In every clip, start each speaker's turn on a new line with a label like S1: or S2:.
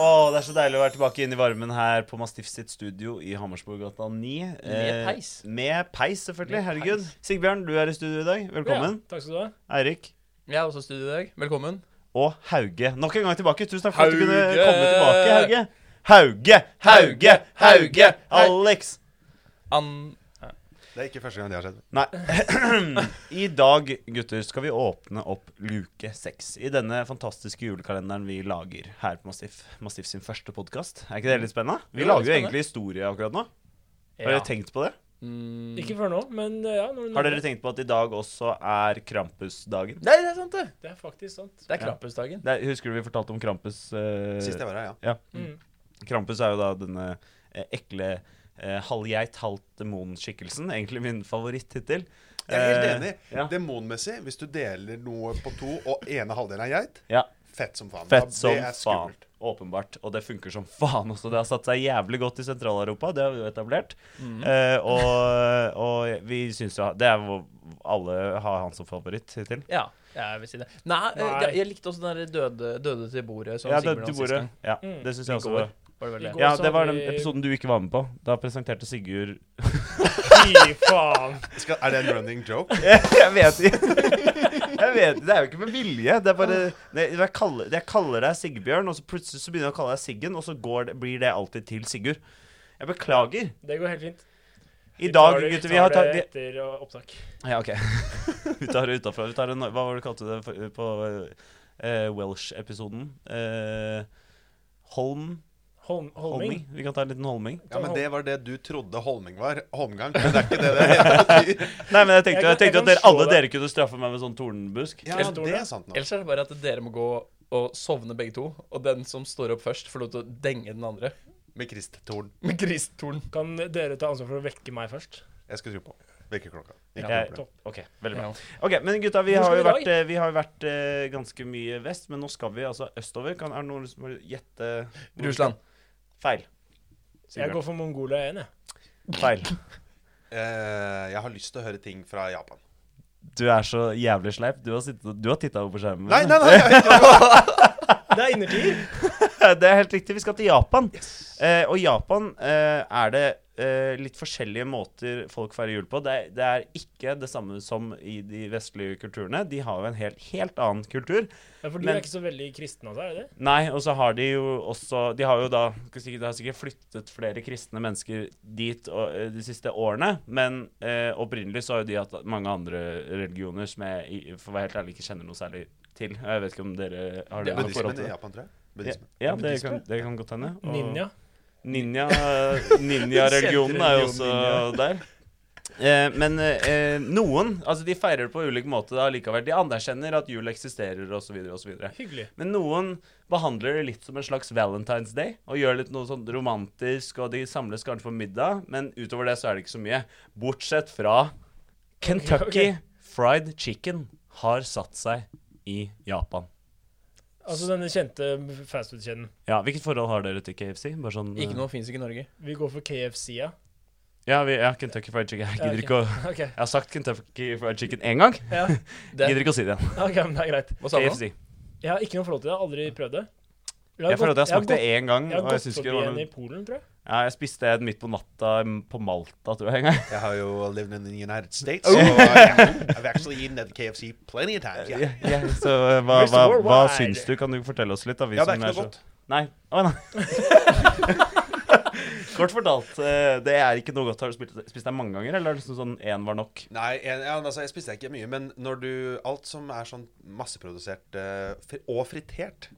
S1: Å, det er så deilig å være tilbake inn i varmen her på Mastiff sitt studio i Hammersborggata 9.
S2: Med peis.
S1: Eh, med peis, selvfølgelig.
S2: Med
S1: Herregud.
S2: peis.
S1: Sigbjørn, du er i studio i dag. Velkommen.
S3: Ja, takk skal du ha.
S1: Eirik.
S2: Jeg er også i studio i dag. Velkommen.
S1: Og Hauge. Nok en gang tilbake. Tusen takk for at du kunne
S2: Hauge!
S1: komme tilbake, Hauge. Hauge, Hauge, Hauge. Alex.
S2: An...
S4: Det er ikke første gang det har skjedd.
S1: Nei. I dag, gutter, skal vi åpne opp luke seks i denne fantastiske julekalenderen vi lager her på Mastiff. Mastiff sin første podkast. Er ikke det litt spennende? Vi
S2: Jo, det er
S1: lager jo
S2: spennende.
S1: egentlig historie akkurat nå. Har
S3: Ja.
S1: dere tenkt på det?
S2: Mm.
S3: Ikke før nå, men eh, ja. Når du
S1: Har
S3: nevner
S1: dere tenkt på at i dag også er Krampus-dagen?
S2: Nei, det er sant, det.
S3: det. Det er faktisk sant.
S2: Det er Krampusdagen.
S1: Det er- Husker du vi fortalte om Krampus? eh,
S4: Sist jeg var her, ja.
S3: Mm.
S1: Krampus er jo da denne eh, ekle eh, halvgeit, halvt demon-skikkelsen. Egentlig min favorittittel.
S4: Jeg er helt enig.
S1: Eh, ja.
S4: Demonmessig, hvis du deler noe på to, og ene halvdelen er geit,
S1: Ja.
S4: fett som faen.
S1: Fett
S4: Da-
S1: som
S4: det er
S1: faen.
S4: skummelt.
S1: Åpenbart. Og det funker som faen også. Det har satt seg jævlig godt i Sentral-Europa. Det har vi jo etablert.
S4: Mhm.
S1: Eh, og, og vi syns jo Det er hvor alle har han som favoritt hittil.
S2: Ja, jeg vil si det. Nei, eh,
S3: Nei.
S2: Jeg, jeg likte også den der døde, døde til bordet. Som
S1: Ja, det, til
S2: Sigbjørn hadde sist
S1: bordet.
S2: gang.
S1: Ja,
S3: Mm.
S1: det syns jeg
S2: I
S1: også
S2: går.
S1: var
S2: Var det vel
S3: I
S2: det?
S3: går.
S1: Ja,
S3: så
S1: det var
S3: hadde
S1: den
S3: vi-
S1: episoden du ikke var med på. Da presenterte Sigurd
S3: Fy faen.
S4: Skal, er det en running joke?
S1: Jeg vet ikke. Jeg vet, det er jo ikke med vilje. Det er bare Nei, jeg, kaller, jeg kaller deg Sigbjørn, og så plutselig så begynner jeg å kalle deg Siggen, og så går det, blir det alltid til Sigurd. Jeg beklager.
S3: Det går helt fint.
S1: I dag,
S3: tar det-
S1: gutter, vi har
S3: tar
S1: tatt
S3: det
S1: vi-
S3: etter uh, opptak.
S1: Ja, OK. Vi tar det utafra. Vi tar det nå- Hva var det du kalte det for- på eh, Welsh-episoden? Eh, Holm?
S3: Holm, Holming.
S1: Holming? Vi kan ta en liten Holming.
S4: Ja, men det var det du trodde holming var. Holmgang. Men det er ikke det det betyr.
S1: Nei, men jeg tenkte, jeg
S3: Jeg kan- jeg
S1: tenkte
S3: kan
S1: at dere,
S3: slå
S1: alle
S3: deg.
S1: dere kunne straffe meg med sånn tordenbusk.
S4: Ja,
S3: Eller-
S4: det er sant nok.
S2: Ellers er det bare at dere må gå og sovne begge to. Og den som står opp først, får lov til å denge den andre.
S4: Med kristtorn.
S2: Med gristorn.
S3: Kan dere ta ansvar for å vekke meg først?
S4: Jeg skal tro på. Vekkerklokka. Ikke
S1: Ja,
S4: noe
S1: jeg-
S4: problem.
S3: Topp.
S1: OK, veldig bra.
S2: Ja.
S1: Ok, Men gutta, vi
S3: Hvor
S1: har
S3: skal
S1: jo
S3: vi i
S1: vært,
S3: dag?
S1: eh, vi har jo vært eh, ganske mye vest, men nå skal vi altså østover. Kan, er det noen som har gjette hvor-
S2: Russland.
S1: Feil.
S3: Jeg
S1: Sigbjørn.
S3: går for Mongolia igjen, jeg.
S1: Feil.
S4: Eh, jeg har lyst til å høre ting fra Japan.
S1: Du er så jævlig sleip. Du har, sittet- du har titta over skjermen.
S4: Nei, nei, nei! nei, ikke noe.
S3: Det er innertier.
S1: Det er helt riktig. Vi skal til Japan. Eh, og i Japan eh, er det eh, litt forskjellige måter folk feirer jul på. Det er, det er ikke det samme som i de vestlige kulturene. De har jo en helt, helt annen kultur.
S3: Ja, for du
S1: Men-
S3: er ikke så veldig kristen av deg, er du det?
S1: Nei, og så har de jo også De har jo da skal si- Det har sikkert flyttet flere kristne mennesker dit og, eh, de siste årene, men eh, opprinnelig så har jo de hatt mange andre religioner som jeg, i- for å være helt ærlig, ikke kjenner noe særlig til. Jeg vet ikke om dere har det,
S2: Ja,
S1: noe forhold
S4: Buddhismen
S1: til
S4: i
S1: det.
S4: Japan, tror jeg.
S1: Ja,
S4: Buddhismen.
S1: ja det, kan, det kan godt hende. Og-
S3: Ninja.
S1: Ninja, ninja-religionen er jo også der. Eh, men eh, noen altså de feirer det på ulik måte da likevel. De anerkjenner at jul eksisterer osv. videre
S3: Hyggelig.
S1: Men noen behandler det litt som en slags Valentine's Day og gjør litt noe sånn romantisk, og de samles kanskje for middag, men utover det så er det ikke så mye. Bortsett fra Kentucky
S3: Ok,
S1: Fried Chicken har satt seg i Japan.
S3: Altså denne kjente fastfood-kjeden.
S1: Ja, Hvilket forhold har dere til KFC? Bare sånn, eh,
S2: Ikke noe fins ikke i Norge.
S3: Vi går for KFC, ja.
S1: Ja, vi, ja, Kentucky Fried Chicken. Jeg
S3: Ja,
S1: gidder
S3: ok.
S1: ikke å
S3: OK.
S1: Jeg har sagt Kentucky Fried Chicken én gang.
S3: Ja,
S2: Det,
S1: Gidder ikke å si det igjen.
S3: ok, men det er greit.
S2: hva sa du nå?
S1: KFC.
S3: Jeg har ikke noe forhold til det. Jeg har aldri prøvd det.
S1: Jeg føler at jeg har smakt det
S3: gått-
S1: én gang.
S3: Jeg har
S1: Og Mm. jeg,
S3: gått
S1: syns ikke
S3: forbi
S1: det var
S3: en
S1: noe...
S3: i Polen, tror jeg.
S1: ja, jeg spiste en midt på natta mm, på Malta, tror jeg. en gang.
S4: Jeg har jo lived in the United States, so uh, I've actually eaten at KFC plenty of times. Yeah.
S1: Ja, ja, så eh, hva,
S3: Mr.
S1: hva, hva
S3: Worldwide.
S1: syns du? Kan du fortelle oss litt? Da, vi
S4: Ja, det
S1: som
S4: er ikke noe
S1: så-
S4: godt.
S1: Nei. Å, nei. Kort fortalt, eh, det er ikke noe godt. Har du spist, spist det mange ganger, eller er det liksom sånn én var nok?
S4: Nei, en, ja, altså, jeg spiste ikke mye, men når du Alt som er sånn masseprodusert eh, fri, og fritert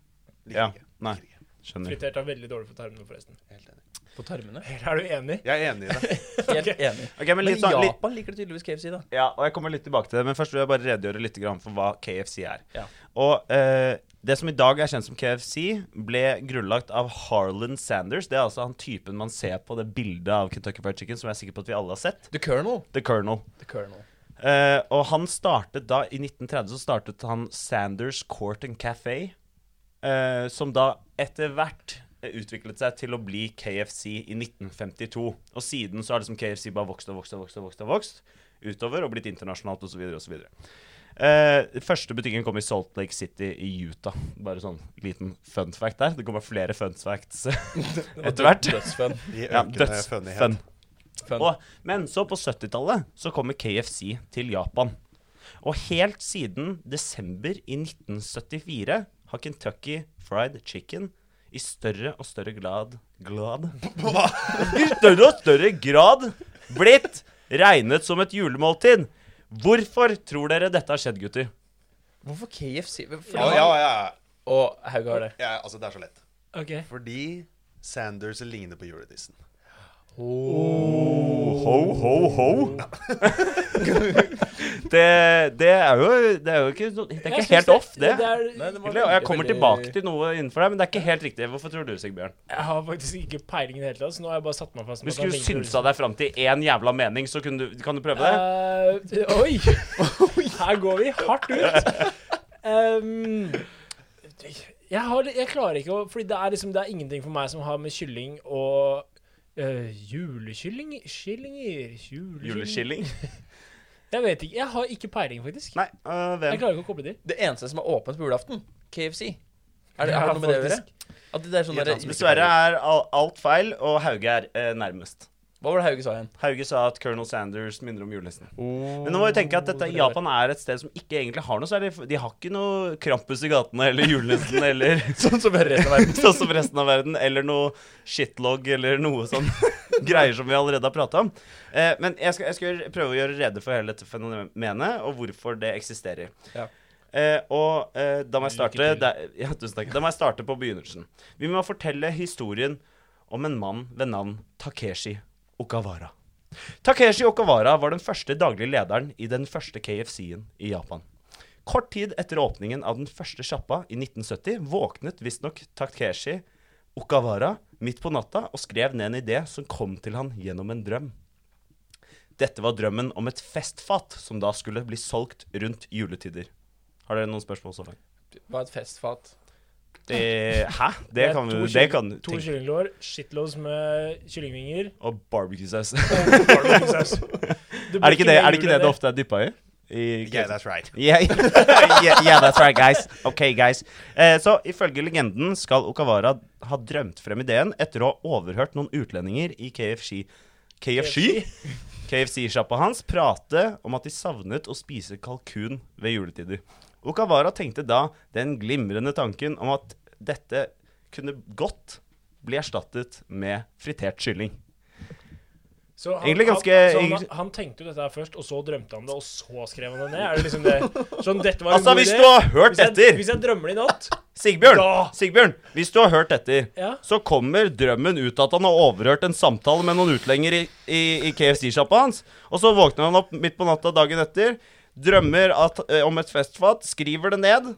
S4: liker
S1: Ja.
S4: jeg ikke.
S1: Nei.
S4: Liker ikke.
S1: Skjønner.
S3: Fritert er veldig dårlig for tarmene, forresten.
S4: Helt enig.
S2: På tarmene?
S3: Er du enig?
S4: Jeg er enig i det.
S2: Helt enig.
S1: Ok, men
S2: Men
S1: litt, sånn- litt,
S2: Japan liker det tydeligvis KFC, da.
S1: Ja, og jeg kommer litt tilbake til det, men først vil jeg bare redegjøre litt grann for hva KFC er.
S2: Ja.
S1: Og eh, det som i dag er kjent som KFC, ble grunnlagt av Harlan Sanders. Det er altså han typen man ser på det bildet av Kentucky Fried Chicken som jeg er sikker på at vi alle har sett.
S2: The Colonel.
S1: The Colonel.
S2: The Colonel.
S1: Eh, og han startet da, i 1930 så startet han Sanders Court and Café, eh, som da etter hvert eh, utviklet seg til å bli KFC i 1952. Og siden så har liksom KFC bare vokst og vokst og vokst og vokst, og vokst utover og blitt internasjonalt osv. osv. Eh, første butikken kom i Salt Lake City i Utah. Bare sånn liten fun fact der. Det kommer flere fun facts etter hvert.
S2: Dødsfun.
S4: I
S1: Ja,
S4: økende
S1: døds-
S4: fønighet.
S1: fun. Og, men så på 70-tallet så kommer KFC til Japan. Og helt siden desember i 1974 har Kentucky Fried Chicken i større og større grad Glad? I større og større grad blitt regnet som et julemåltid. Hvorfor tror dere dette har skjedd, gutter?
S2: Hvorfor KFC? Fordi,
S4: Ja, ja, ja,
S2: Og Haug har det.
S4: ja. Altså, det er så lett.
S3: Ok.
S4: Fordi Sanders ligner på julenissen.
S1: Oh, Ho, ho, ho. det, det er jo Det er jo ikke, så- det er
S3: Jeg
S1: ikke
S3: synes
S1: helt off, det.
S3: det er,
S1: Egentlig, og jeg kommer tilbake til noe innenfor deg, men det er ikke helt riktig. Hvorfor tror du, Sigbjørn?
S3: Jeg har faktisk ikke peiling i det hele tatt, så nå har jeg bare satt meg fast.
S1: Hvis du synsa deg fram til én jævla mening, så kunne du, kan du prøve det?
S3: Eh, oi! Her går vi hardt ut. Um, jeg, har, jeg klarer ikke å Fordi det er liksom Det er ingenting for meg som har med kylling og eh, Julekylling? Kyllinger? Julekylling.
S1: Juleskilling?
S3: Jeg vet ikke. Jeg har ikke peiling, faktisk.
S1: Nei, øh,
S3: Jeg
S1: hvem?
S3: klarer ikke å koble de.
S2: Det eneste som er åpent på julaften, KFC. Er det, er
S3: Ja,
S2: det noe med det å gjøre?
S3: faktisk.
S2: At det er sånn
S4: I et
S2: der,
S4: land som ikke-
S2: Hva
S1: Dessverre er al- alt feil, og Hauge er eh, nærmest.
S2: var det Hauge sa igjen?
S1: Hauge sa at Colonel Sanders minner om julenissen. Men nå må vi tenke at
S3: Oh,
S2: Oh.
S1: dette, Japan er et sted som ikke egentlig har noe særlig De har ikke noe Krampus i gatene eller julenissen eller
S2: Sånn som resten av verden.
S1: sånn som resten av verden, eller noe shitlog, eller noe sånn greier som vi allerede har prata om. Eh, men jeg skal, jeg skal gjøre- prøve å gjøre rede for hele dette fenomenet, og hvorfor det eksisterer.
S2: Ja.
S1: Eh, og eh, da må jeg
S3: Lykke
S1: starte
S3: til.
S1: der, ja, tusen takk. Da må jeg starte på begynnelsen. Vi må fortelle historien om en mann ved navn Takeshi Okawara. Takeshi Okawara var den første daglige lederen i den første KFC-en i Japan. Kort tid etter åpningen av den første sjappa i 1970 våknet visstnok Takeshi Okawara midt på natta og skrev ned en idé som kom til han gjennom en drøm. Dette var drømmen om et festfat som da skulle bli solgt rundt juletider. Har dere noen spørsmål så langt?
S2: Var et festfat.
S1: Det, hæ? Det
S3: Det er
S1: kan
S3: to
S1: du det
S3: kylling-
S1: kan du
S3: To
S1: tenke.
S3: kyllinglår, shitloads med kyllingvinger
S1: Og barbecue-saus.
S3: barbecuesaus.
S1: Er det ikke det, er det, ikke det det ofte er dyppa i? I-
S4: Yeah, that's right.
S1: Yeah, yeah, yeah, that's right, guys. Ok, guys. Eh, så ifølge legenden skal Okawara ha drømt frem ideen etter å ha overhørt noen utlendinger i KFC KFC? KFC-sjappa hans prate om at de savnet å spise kalkun ved juletider. Okawara tenkte da den glimrende tanken om at dette kunne godt bli erstattet med fritert kylling.
S3: Så han,
S1: Egentlig ganske-
S3: han, så han, han tenkte jo dette her først, og så drømte han det, og så skrev han det ned? Er det liksom det? Sånn, dette var en
S1: Altså,
S3: god
S1: hvis
S3: idé.
S1: du har hørt
S3: hvis jeg,
S1: etter
S3: Hvis jeg drømmer det i natt
S1: Sigbjørn,
S3: Da!
S1: Sigbjørn, hvis du har hørt etter,
S3: Ja.
S1: så kommer drømmen ut at han har overhørt en samtale med noen utlendinger i, i, i KFC-sjappa hans. Og så våkner han opp midt på natta dagen etter, drømmer at, eh, om et festfat, skriver det ned.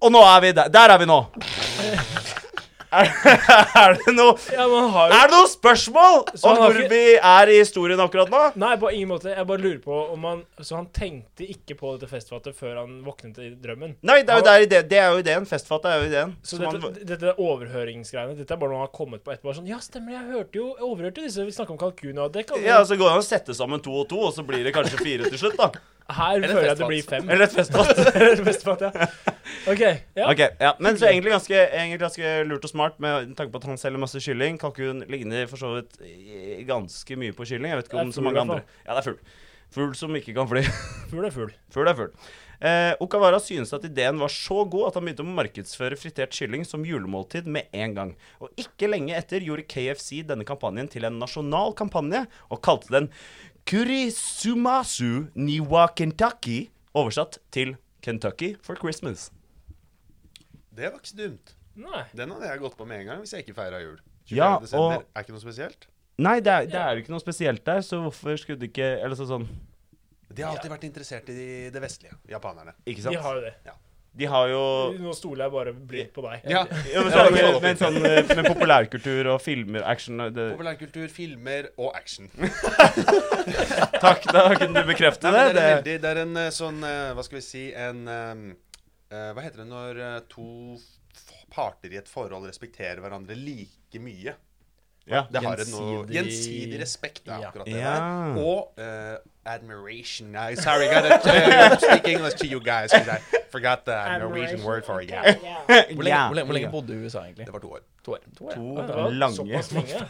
S1: Og nå er vi der. Der er vi nå. Er, er, det, noe,
S3: Ja, men han har jo
S1: er det noen spørsmål
S3: Så han
S1: om
S3: har
S1: hvor
S3: ikke-
S1: vi er i historien akkurat nå?
S3: Nei, på ingen måte. Jeg bare lurer på om han Så han tenkte ikke på dette festfatet før han våknet i drømmen?
S1: Nei, det er jo, der, ide- det er jo ideen. Festfat er jo ideen.
S3: Så
S1: Som
S3: dette,
S1: han-
S3: dette overhøringsgreiene Dette er bare noe han har kommet på etterpå. Bare Sånn, ja, stemmer, jeg hørte jo Jeg overhørte disse Vi snakka om kalkun, og det kan jo-
S1: ja, altså, så går det an å sette sammen to og to, og så blir det kanskje fire til slutt, da.
S3: Her
S2: Eller
S3: føler jeg at det
S2: festfat.
S3: blir fem.
S1: Eller et festfat.
S3: Eller festfat, ja. OK. Ja.
S1: Ok, ja, Men så egentlig ganske, egentlig ganske lurt og smart med tanke på at han selger masse kylling. Kalkun ligner for så vidt eh, ganske mye på kylling. Jeg vet ikke
S3: Det er
S1: om så
S3: fugl,
S1: mange
S3: i hvert
S1: andre. Ja, det er fugl. Fugl som ikke kan fly.
S3: Fugl er fugl.
S1: Fugl er fugl. Eh, Okawara synes at ideen var så god at han begynte å markedsføre fritert kylling som julemåltid med en gang. Og ikke lenge etter gjorde KFC denne kampanjen til en nasjonal kampanje og kalte den Kurisumasu Niwa Kentucky, oversatt til Kentucky for Christmas.
S4: Det var ikke så dumt.
S3: Nei.
S4: Den hadde jeg gått på med en gang hvis jeg ikke feira jul. 24.
S1: Ja,
S4: desember
S1: og-
S4: er ikke noe spesielt.
S1: Nei, det er, det er jo ikke noe spesielt der, så hvorfor skulle det ikke Eller så sånn
S4: De har alltid vært interessert i det vestlige, japanerne.
S1: Ikke sant?
S3: De har jo det.
S1: jo
S3: Nå stoler jeg bare blindt på deg.
S4: Ja.
S1: ja, men så er det med, sånn- med, sånn, eh, med populærkultur og filmer, action og det.
S4: Populærkultur, filmer og action.
S1: Takk, da kunne du bekrefte
S4: Nei,
S1: det.
S4: men det, er en
S1: det.
S4: veldig, det er en eh, sånn eh, Hva skal vi si En eh, eh, Hva heter det når eh, to f- parter i et forhold respekterer hverandre like mye?
S1: Ja.
S4: Det har en noe
S2: Gjensidig-
S4: Gjensidig respekt er
S2: Ja.
S4: akkurat det
S1: Ja.
S4: der. Og eh, admiration. I, sorry, gotta uh, speak English to you guys because I forgot the Norwegian word for it. Yeah.
S2: Hvor lenge, hvor lenge, hvor lenge bodde du i USA, egentlig?
S4: Det var to år.
S2: To år. To år.
S1: To
S2: ja.
S3: var
S1: lange
S3: Såpass lenge.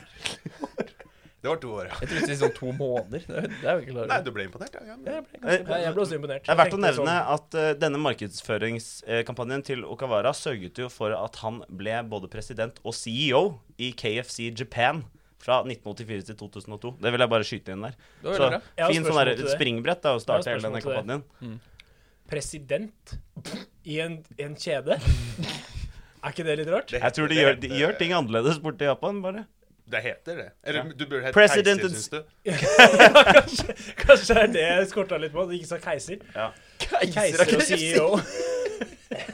S4: Det var to år, ja.
S2: Jeg trodde det var sånn to måneder. Det er jo- det er jo ikke
S4: Nei,
S2: klart.
S4: du ble imponert? Ja, ja.
S2: Ja,
S4: men-
S2: jeg ble ganske-
S3: Ja, Jeg ble også imponert.
S1: Det er verdt å
S3: Jeg
S1: nevne
S3: tenkte sånn,
S1: at eh, denne markedsføringskampanjen til Okawara sørget jo for at han ble både president og CEO i KFC Japan fra 1984 til 2002. Det vil jeg bare skyte inn der.
S2: Det var
S1: Så
S2: veldig bra.
S3: Jeg har
S1: fin sånn
S3: spørsmål
S1: der
S3: til det.
S1: springbrett da, å starte
S3: Jeg har
S1: hele denne
S3: spørsmål
S1: kampanjen.
S3: sånn, President i en, en kjede? Er ikke det litt rart?
S4: Det
S1: Jeg tror de
S4: heter-
S1: gjør,
S4: det
S1: de
S4: heter-
S1: gjør ting annerledes borte i Japan, bare.
S4: Det heter det. Eller du burde hete
S1: President
S4: keiser,
S1: and-
S4: syns du.
S3: kanskje, kanskje det er det jeg skorta litt på, at du ikke sa keiser.
S1: Ja.
S3: Keiser og E CEO.
S2: E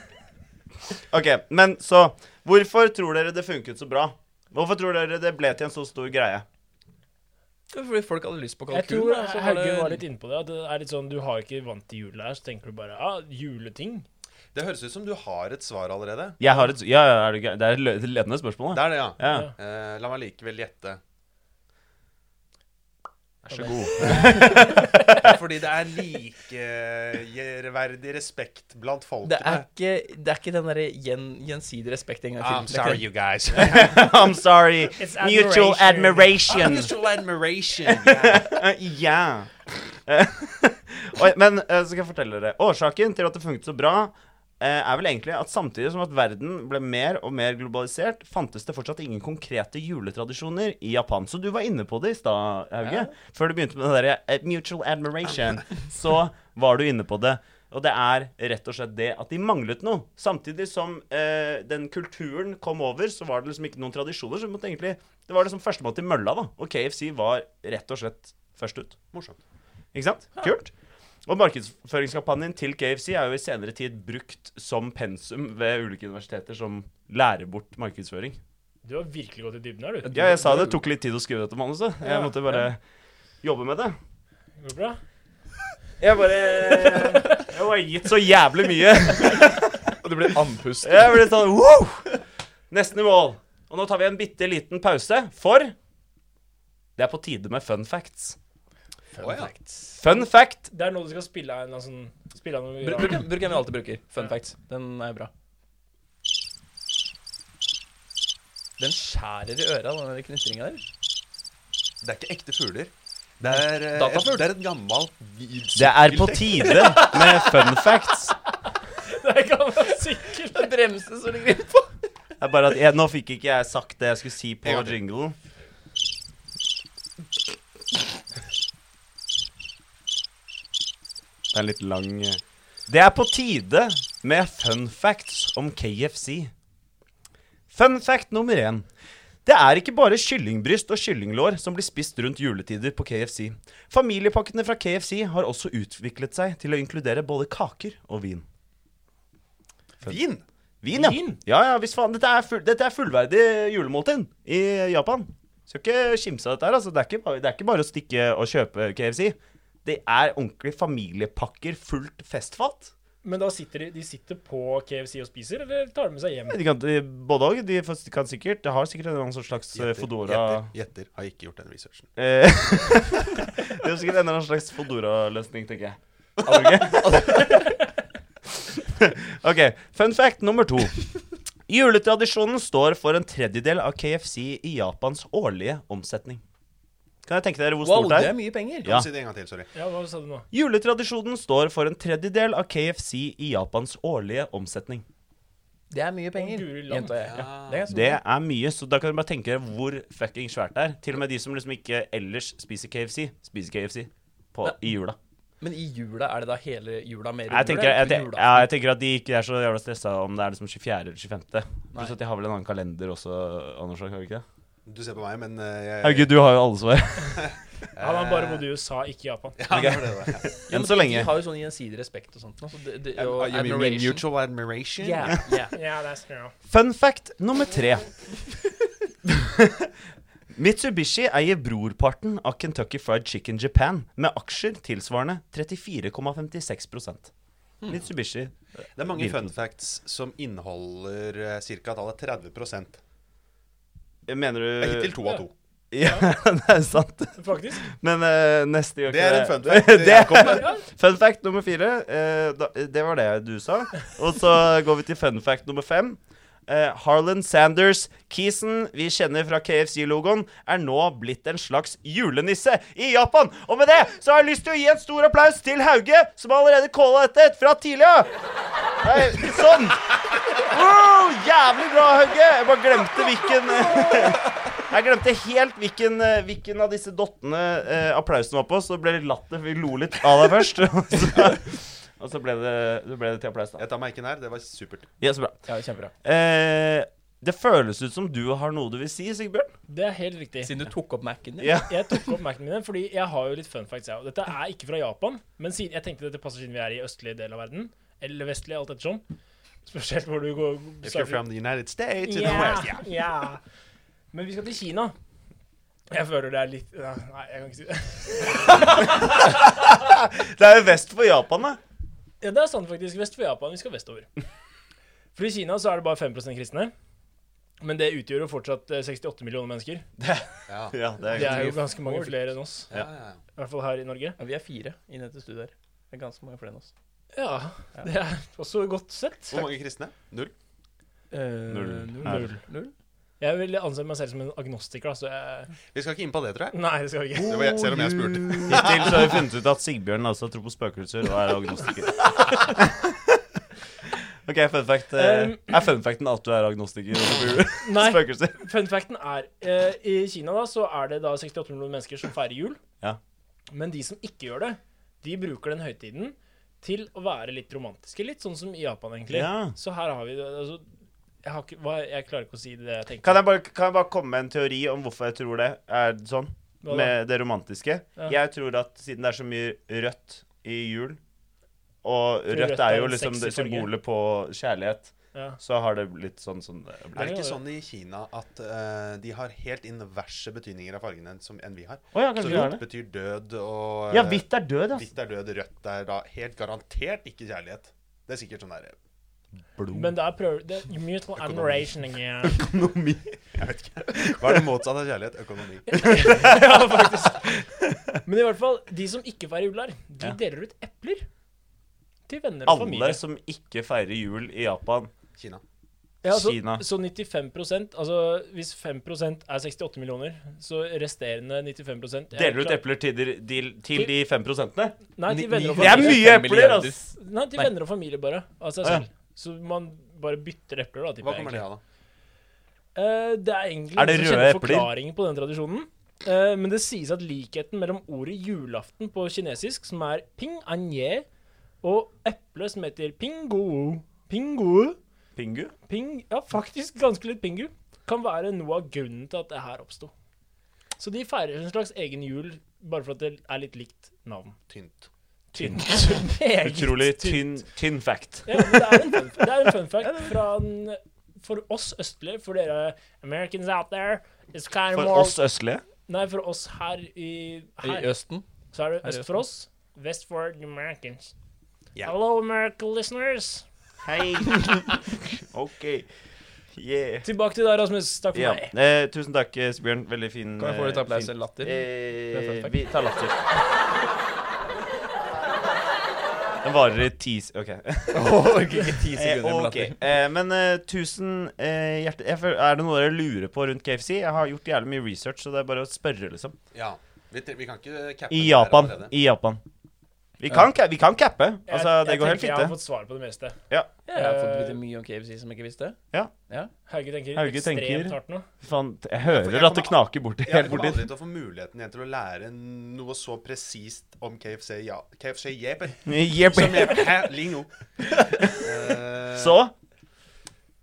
S1: Ok, men så Hvorfor tror dere det funket så bra? Hvorfor tror dere det ble til en så stor greie?
S2: Det var Fordi folk hadde lyst på kalkun.
S3: Jeg tror
S2: da, så var
S3: Haugen
S2: det-
S3: var litt inne på det. At det er litt sånn, Du har ikke vant til jul her, så tenker du bare ah, juleting.
S4: Det høres ut som du har et svar allerede.
S1: Jeg har et, ja, ja, er det, gøy? det er et lø- ledende spørsmål.
S4: Det
S1: Da.
S4: er det, ja.
S1: Ja.
S3: Ja.
S4: Eh, la meg likevel gjette.
S1: Vær så god.
S4: Fordi det er likeverdig respekt blant folkene.
S2: Det er ikke, det er ikke den derre gjen, gjensidig respekt en gang
S3: Ah,
S2: til.
S4: I'm Ah, sorry,
S2: Det er ikke
S4: you guys.
S1: I'm sorry.
S3: It's
S1: Mutual admiration.
S4: Mutual admiration. Yeah.
S1: Eh, Ja. Eh, Oi, men eh, så skal jeg fortelle dere. Årsaken til at det funket så bra, eh, er vel egentlig at samtidig som at verden ble mer og mer globalisert, fantes det fortsatt ingen konkrete juletradisjoner i Japan. Så du var inne på det i stad, Hauge. Før du begynte med det derre eh, mutual admiration, så var du inne på det. Og det er rett og slett det at de manglet noe. Samtidig som eh, den kulturen kom over, så var det liksom ikke noen tradisjoner. Så vi måtte egentlig, det var liksom førstemann til mølla, da. Og KFC var rett og slett først ut.
S4: Morsomt.
S1: Ikke sant? Kult. Og markedsføringskampanjen til KFC er jo i senere tid brukt som pensum ved ulike universiteter som lærer bort markedsføring.
S3: Du har virkelig gått i dybden her, du.
S1: Ja, jeg sa det tok litt tid å skrive dette manuset. Jeg
S3: Ja,
S1: måtte bare jobbe med det.
S3: Går det bra?
S1: Jeg bare Jeg var gitt så jævlig mye.
S2: Og du blir andpust.
S1: Jeg ble sånn wow! Nesten i mål. Og nå tar vi en bitte liten pause, for det er på tide med fun facts.
S4: Å, ja.
S1: Fun fact
S3: Det er nå du skal spille av en eller annen sånn Spille av noe
S2: Bru- Bruk den bruk den vi alltid bruker. Fun facts. Den er bra. Den skjærer i øra, den der knitringa der.
S4: Det er ikke ekte fugler. Det er, eh, et,
S2: Datafugl.
S4: det er et gammelt
S1: Det er på tide med fun facts.
S3: Det kan være sikkert.
S2: Den bremsen som ligger innpå.
S1: Det er bare at jeg, Nå fikk ikke jeg sagt det jeg skulle si på
S4: En gang til.
S1: jinglen. Det er litt lang eh. Det er på tide med fun facts om KFC. Fun fact nummer én. Det er ikke bare kyllingbryst og kyllinglår som blir spist rundt juletider på KFC. Familiepakkene fra KFC har også utviklet seg til å inkludere både kaker og vin.
S4: Vin!
S1: Vin, ja.
S3: Vin?
S1: Ja, ja, hvis faen. Dette er, full, dette er fullverdig julemåltid i Japan. Skal ikke kimse av dette her, altså. Det er, ikke bare, det er ikke bare å stikke og kjøpe KFC. Det er ordentlig familiepakker fullt festfat.
S3: Men da sitter de, de sitter på KFC og spiser, eller tar de med seg hjem?
S1: De kan, de, både òg. De får- kan sikkert De har sikkert en eller annen slags eh, Fodora
S4: Gjetter, gjetter. Har ikke gjort den researchen.
S1: eh, De har sikkert en eller annen slags Fodora-løsning, tenker jeg. Har du ikke? OK. Fun fact nummer to. Juletradisjonen står for en tredjedel av KFC i Japans årlige omsetning. Kan jeg tenke dere hvor
S2: Wow,
S1: stort det
S2: det
S1: er?
S2: er mye penger.
S1: Ja.
S4: Si det en gang til, sorry.
S3: Ja, hva sa du nå?
S1: Juletradisjonen står for en tredjedel av KFC i Japans årlige omsetning.
S2: Det er mye penger.
S3: Å, guri land.
S2: Gjenta jeg. Ja. Det er ganske
S1: Det er mye, så da kan du bare tenke dere hvor fucking svært det er. Til og med de som liksom ikke ellers spiser KFC, spiser KFC på, i jula.
S2: Men i jula, er det da hele jula mer
S1: Jeg tenker,
S2: eller
S1: jeg,
S2: kun
S1: te-
S2: julaften?
S1: ja, jeg tenker at de ikke er så jævla stressa om det er liksom 24. eller 25. Pluss at de har vel en annen kalender også, Anders. Har vi ikke det?
S4: Du ser på meg, men eh, jeg
S1: Herregud, du har jo alle svar.
S3: Han har bare bodd i USA, ikke i Japan.
S4: Ja, det var det, det.
S2: Ja, men
S1: Enn så
S2: de-
S1: lenge.
S2: De har jo sånn gjensidig respekt og sånt. nå, så det, det,
S4: Ja,
S2: og
S4: you mean
S2: admiration.
S4: Mutual admiration?
S2: Yeah, yeah.
S3: Ja, det er snø.
S1: Fun fact nummer tre. Mitsubishi eier brorparten av Kentucky Fried Chicken Japan med aksjer tilsvarende 34,56
S4: Hmm.
S1: Mitsubishi.
S4: Det er mange
S1: Virkelig.
S4: eh, fun facts som inneholder ca. tallet 30
S1: Mener du
S4: Hittil to av to.
S1: Eh, Ja, det er sant.
S3: faktisk.
S1: Men eh, neste gjør
S4: Det
S1: ikke
S4: er en fun fact.
S1: Det er-
S4: Jakob.
S1: Fun fact nummer fire. eh, da, det var det du sa. Og så går vi til fun fact nummer fem. Eh, Harlan Sanders Keeson, vi kjenner fra KFC-logoen, er nå blitt en slags julenisse i Japan. Og med det så har jeg lyst til å gi en stor applaus til Hauge, som allerede calla dette fra tidligere. Nei, sånn. Wow, jævlig bra, Hauge. Jeg bare glemte hvilken eh, Jeg glemte helt hvilken, eh, hvilken av disse dottene eh, applausen var på, så det ble litt latter, for vi lo litt av deg først. og så, og så ble, det, så ble det til applaus, da.
S4: Jeg tar merken her. Det var supert.
S1: Ja, så bra.
S2: Ja, kjempebra.
S1: Eh, det føles ut som du har noe du vil si, Sigbjørn.
S3: Det er helt riktig.
S2: Siden du tok opp Mac-en din.
S1: Ja.
S3: Jeg tok opp Mac-ene mine, fordi jeg har jo litt fun facts, jeg òg. Dette er ikke fra Japan, men siden, jeg tenkte dette passer siden vi er i østlig del av verden. Eller vestlig, alt ettersom. Spesielt hvor du går
S4: If you're from the United States, it's
S3: Ja,
S4: west. Yeah.
S3: ja. Men vi skal til Kina. Jeg føler det er litt ja, Nei, jeg kan ikke si det.
S1: Det er jo vest for Japan, da.
S3: Ja, det er sant, faktisk. Vest for Japan. Vi skal vestover. For i Kina så er det bare 5 kristne. Men det utgjør jo fortsatt eh, 68 millioner mennesker.
S4: Ja.
S1: Ja, det
S3: Det
S1: er
S3: er jo ganske mange flere enn oss.
S4: Ja, ja, ja.
S3: I hvert fall her i Norge.
S2: Ja, vi er fire i dette studioet her. Det er ganske mange flere enn oss.
S3: Ja, det er også godt sett.
S4: Hvor mange kristne? Null?
S1: Null.
S2: Eh, Null. Null.
S3: Jeg vil anse meg selv som en agnostiker, da, så jeg
S4: Vi skal ikke inn på det, tror jeg.
S3: Nei, det skal vi ikke.
S1: Oh,
S4: Det var jeg selv om jeg spurte.
S1: Hittil så har vi funnet ut at Sigbjørn også tror på spøkelser og er agnostiker. OK, fun fact. eh,
S3: Um,
S1: er fun facten at du er agnostiker og tror på
S3: Nei,
S1: spøkelser?
S3: fun facten er eh, I Kina da, så er det da 68 millioner mennesker som feirer jul.
S1: Ja.
S3: Men de som ikke gjør det, de bruker den høytiden til å være litt romantiske. Litt sånn som i Japan, egentlig.
S1: Ja.
S3: Så her har vi det. Altså, jeg, har ikke, hva, jeg klarer ikke å si det jeg tenker.
S1: Kan jeg, bare, kan jeg bare komme med en teori om hvorfor jeg tror det er sånn?
S3: Hva da?
S1: Med det romantiske.
S3: Ja.
S1: Jeg tror at siden det er så mye rødt i jul, og
S3: Tror
S1: rødt
S3: rødt er
S1: er jo
S3: en
S1: liksom det
S3: sexy farge.
S1: symbolet på kjærlighet,
S3: Ja.
S1: så har det blitt sånn som det
S4: Er
S1: blir.
S4: det ikke sånn i Kina at eh, de har helt inverse betydninger av fargene som enn vi har?
S1: Å ja,
S4: Så
S1: kanskje det er
S4: rødt
S1: det.
S4: betyr død, og
S1: Ja,
S4: eh,
S1: hvitt er død, ass.
S4: hvitt er død, rødt er da helt garantert ikke kjærlighet. Det er sikkert sånn der
S1: Blod.
S3: Men det er prøv... Det er mutual admiration again.
S1: Økonomi.
S4: Jeg vet ikke. Hva er det motsatte av kjærlighet? Økonomi.
S3: ja, faktisk. Men i hvert fall, de som ikke feirer jul her, de
S1: Ja.
S3: deler ut epler til venner og
S1: Alle
S3: familie.
S1: som ikke feirer jul i Japan.
S4: Kina.
S3: Ja, så,
S1: Kina.
S3: Så 95 altså hvis 5 er 68 millioner, så resterende 95 jeg er
S1: Deler ut
S3: klar-
S1: epler til de, til, til de fem prosentene?
S3: Nei, til venner og
S1: Det er
S3: familie.
S1: mye epler,
S2: Milliarder.
S1: ass!
S3: Nei, til
S2: Nei.
S3: venner og familie, bare. Av seg
S1: Å, ja.
S3: selv. Så man bare bytter epler, da.
S4: Hva kommer det
S3: av?
S4: av, da?
S3: Eh, det er egentlig
S1: Er det
S3: ingen som
S1: røde
S3: kjenner
S1: epler?
S3: forklaringen på den tradisjonen. Eh, men det sies at likheten mellom ordet julaften på kinesisk, som er ping anje, og eplet som heter pingo pingo
S1: Pingu?
S3: Ping, ja faktisk ganske litt pingu, kan være noe av grunnen til at det her oppsto. Så de feirer en slags egen jul, bare for at det er litt likt navn.
S4: Tynt.
S3: Tynt. Meget
S1: Utrolig tynn, tynn fact.
S3: Ja, men det, er en fun, det er en fun fact fra en, for oss østlige, for dere Americans out there. It's kind of
S1: For
S3: more,
S1: oss østlige.
S3: Nei, for oss her i
S2: I
S3: her,
S2: Østen.
S3: Så er det
S2: her i
S3: øst for oss, vest for the Americans.
S4: Ja.
S3: Hello, American listeners.
S1: Hei. OK. Yeah.
S3: Tilbake til deg, Rasmus. Takk for
S1: Ja.
S3: meg.
S1: Eh, tusen takk, eh, Sibjørn. Veldig fin
S2: Kan jeg få litt
S1: eh,
S2: applaus
S1: fin-
S2: eller latter? Det er
S1: Eh,
S2: fun
S1: vi tar latter. Den varer i ti s- OK.
S2: Orker ikke ti
S1: Eh,
S2: sekunder med
S1: ok.
S2: latter.
S1: eh, men eh, tusen eh, hjertelig jeg føler- Er det noe dere lurer på rundt KFC? Jeg har gjort jævlig mye research, så det er bare å spørre, liksom.
S4: Ja. Vi, tre- vi kan ikke cappe
S1: I
S4: det her
S1: Japan.
S4: allerede.
S1: I Japan. Vi kan, ca- vi kan cappe. Altså,
S3: Jeg-
S1: det
S3: jeg
S1: går helt
S3: tenker Jeg har
S1: fint, det.
S3: fått svar på det meste.
S1: Ja.
S2: Jeg har fått
S3: Eh,
S2: vite mye om KFC som jeg ikke visste.
S3: Hauge tenker
S1: Hauge
S3: ekstremt
S1: tenker-
S3: hardt nå.
S1: Faen, jeg
S4: for
S1: hører
S4: jeg
S1: at det
S4: kommer-
S1: knaker borti.
S4: Jeg
S1: Helt
S4: kommer
S1: borti.
S4: aldri til å få muligheten igjen til å lære noe så presist om KFC ja. KFC Jepen. Som
S1: Jepp.
S4: jeg Hæ? Lingo. Eh,
S1: Så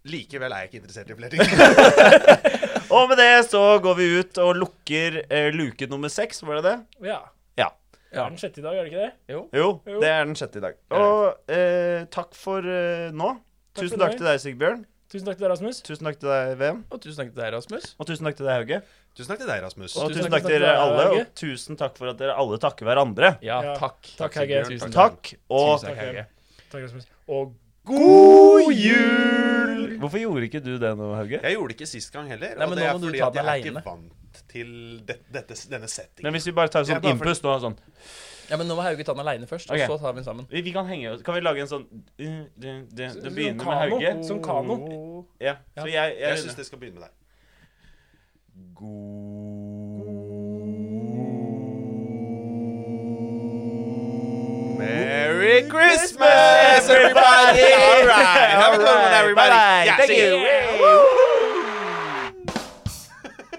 S4: Likevel er jeg ikke interessert i flørting.
S1: Og med det så går vi ut og lukker eh, luke nummer seks, var det det?
S3: Ja.
S1: Ja.
S3: Det er den sjette i dag, er det ikke det?
S1: Jo,
S3: Jo.
S1: det er den sjette i dag. Og eh, takk for eh, nå.
S3: Takk
S1: tusen
S3: for
S1: takk
S3: deg.
S1: til deg, Sigbjørn.
S3: Tusen takk til deg, Rasmus.
S1: Tusen takk til deg, VM.
S2: Og tusen takk til deg, Rasmus.
S1: Og tusen takk til deg, Hauge.
S4: Tusen takk til deg, Rasmus.
S1: Og
S2: Tusen
S1: tusen
S2: takk
S1: takk til dere
S3: deg,
S1: alle.
S3: Hauge.
S1: Og tusen takk for at dere alle takker hverandre.
S2: Ja,
S3: Ja,
S2: takk.
S3: takk, Hauge.
S2: Tusen
S1: Takk, og
S2: Tusen takk, Hauge.
S3: Takk, Rasmus. Og
S1: god God jul! Hvorfor gjorde ikke du det nå, Hauge?
S4: Jeg gjorde det ikke sist gang heller.
S2: Nei, men
S4: og det
S2: nå
S4: er
S2: må du
S4: fordi
S2: ta
S4: at jeg
S2: den
S4: er
S2: alene.
S4: ikke vant til det, dette, denne settingen.
S1: Men hvis vi bare tar
S4: Jeg
S1: sånn
S4: bare for-
S1: innpust nå, sånn
S2: Ja, men nå må Hauge ta den aleine først,
S1: Ok.
S2: og så tar vi den sammen.
S1: Vi, vi kan henge oss Kan vi lage en sånn Det, det, det
S3: Som
S1: begynner med
S3: kano.
S1: Hauge.
S3: Som kano.
S1: Ja. Så jeg, jeg,
S4: jeg syns det skal begynne med deg. Merry Christmas, everybody! All right. Have a good one, everybody. Yeah,
S1: Thank
S4: see you.
S1: you.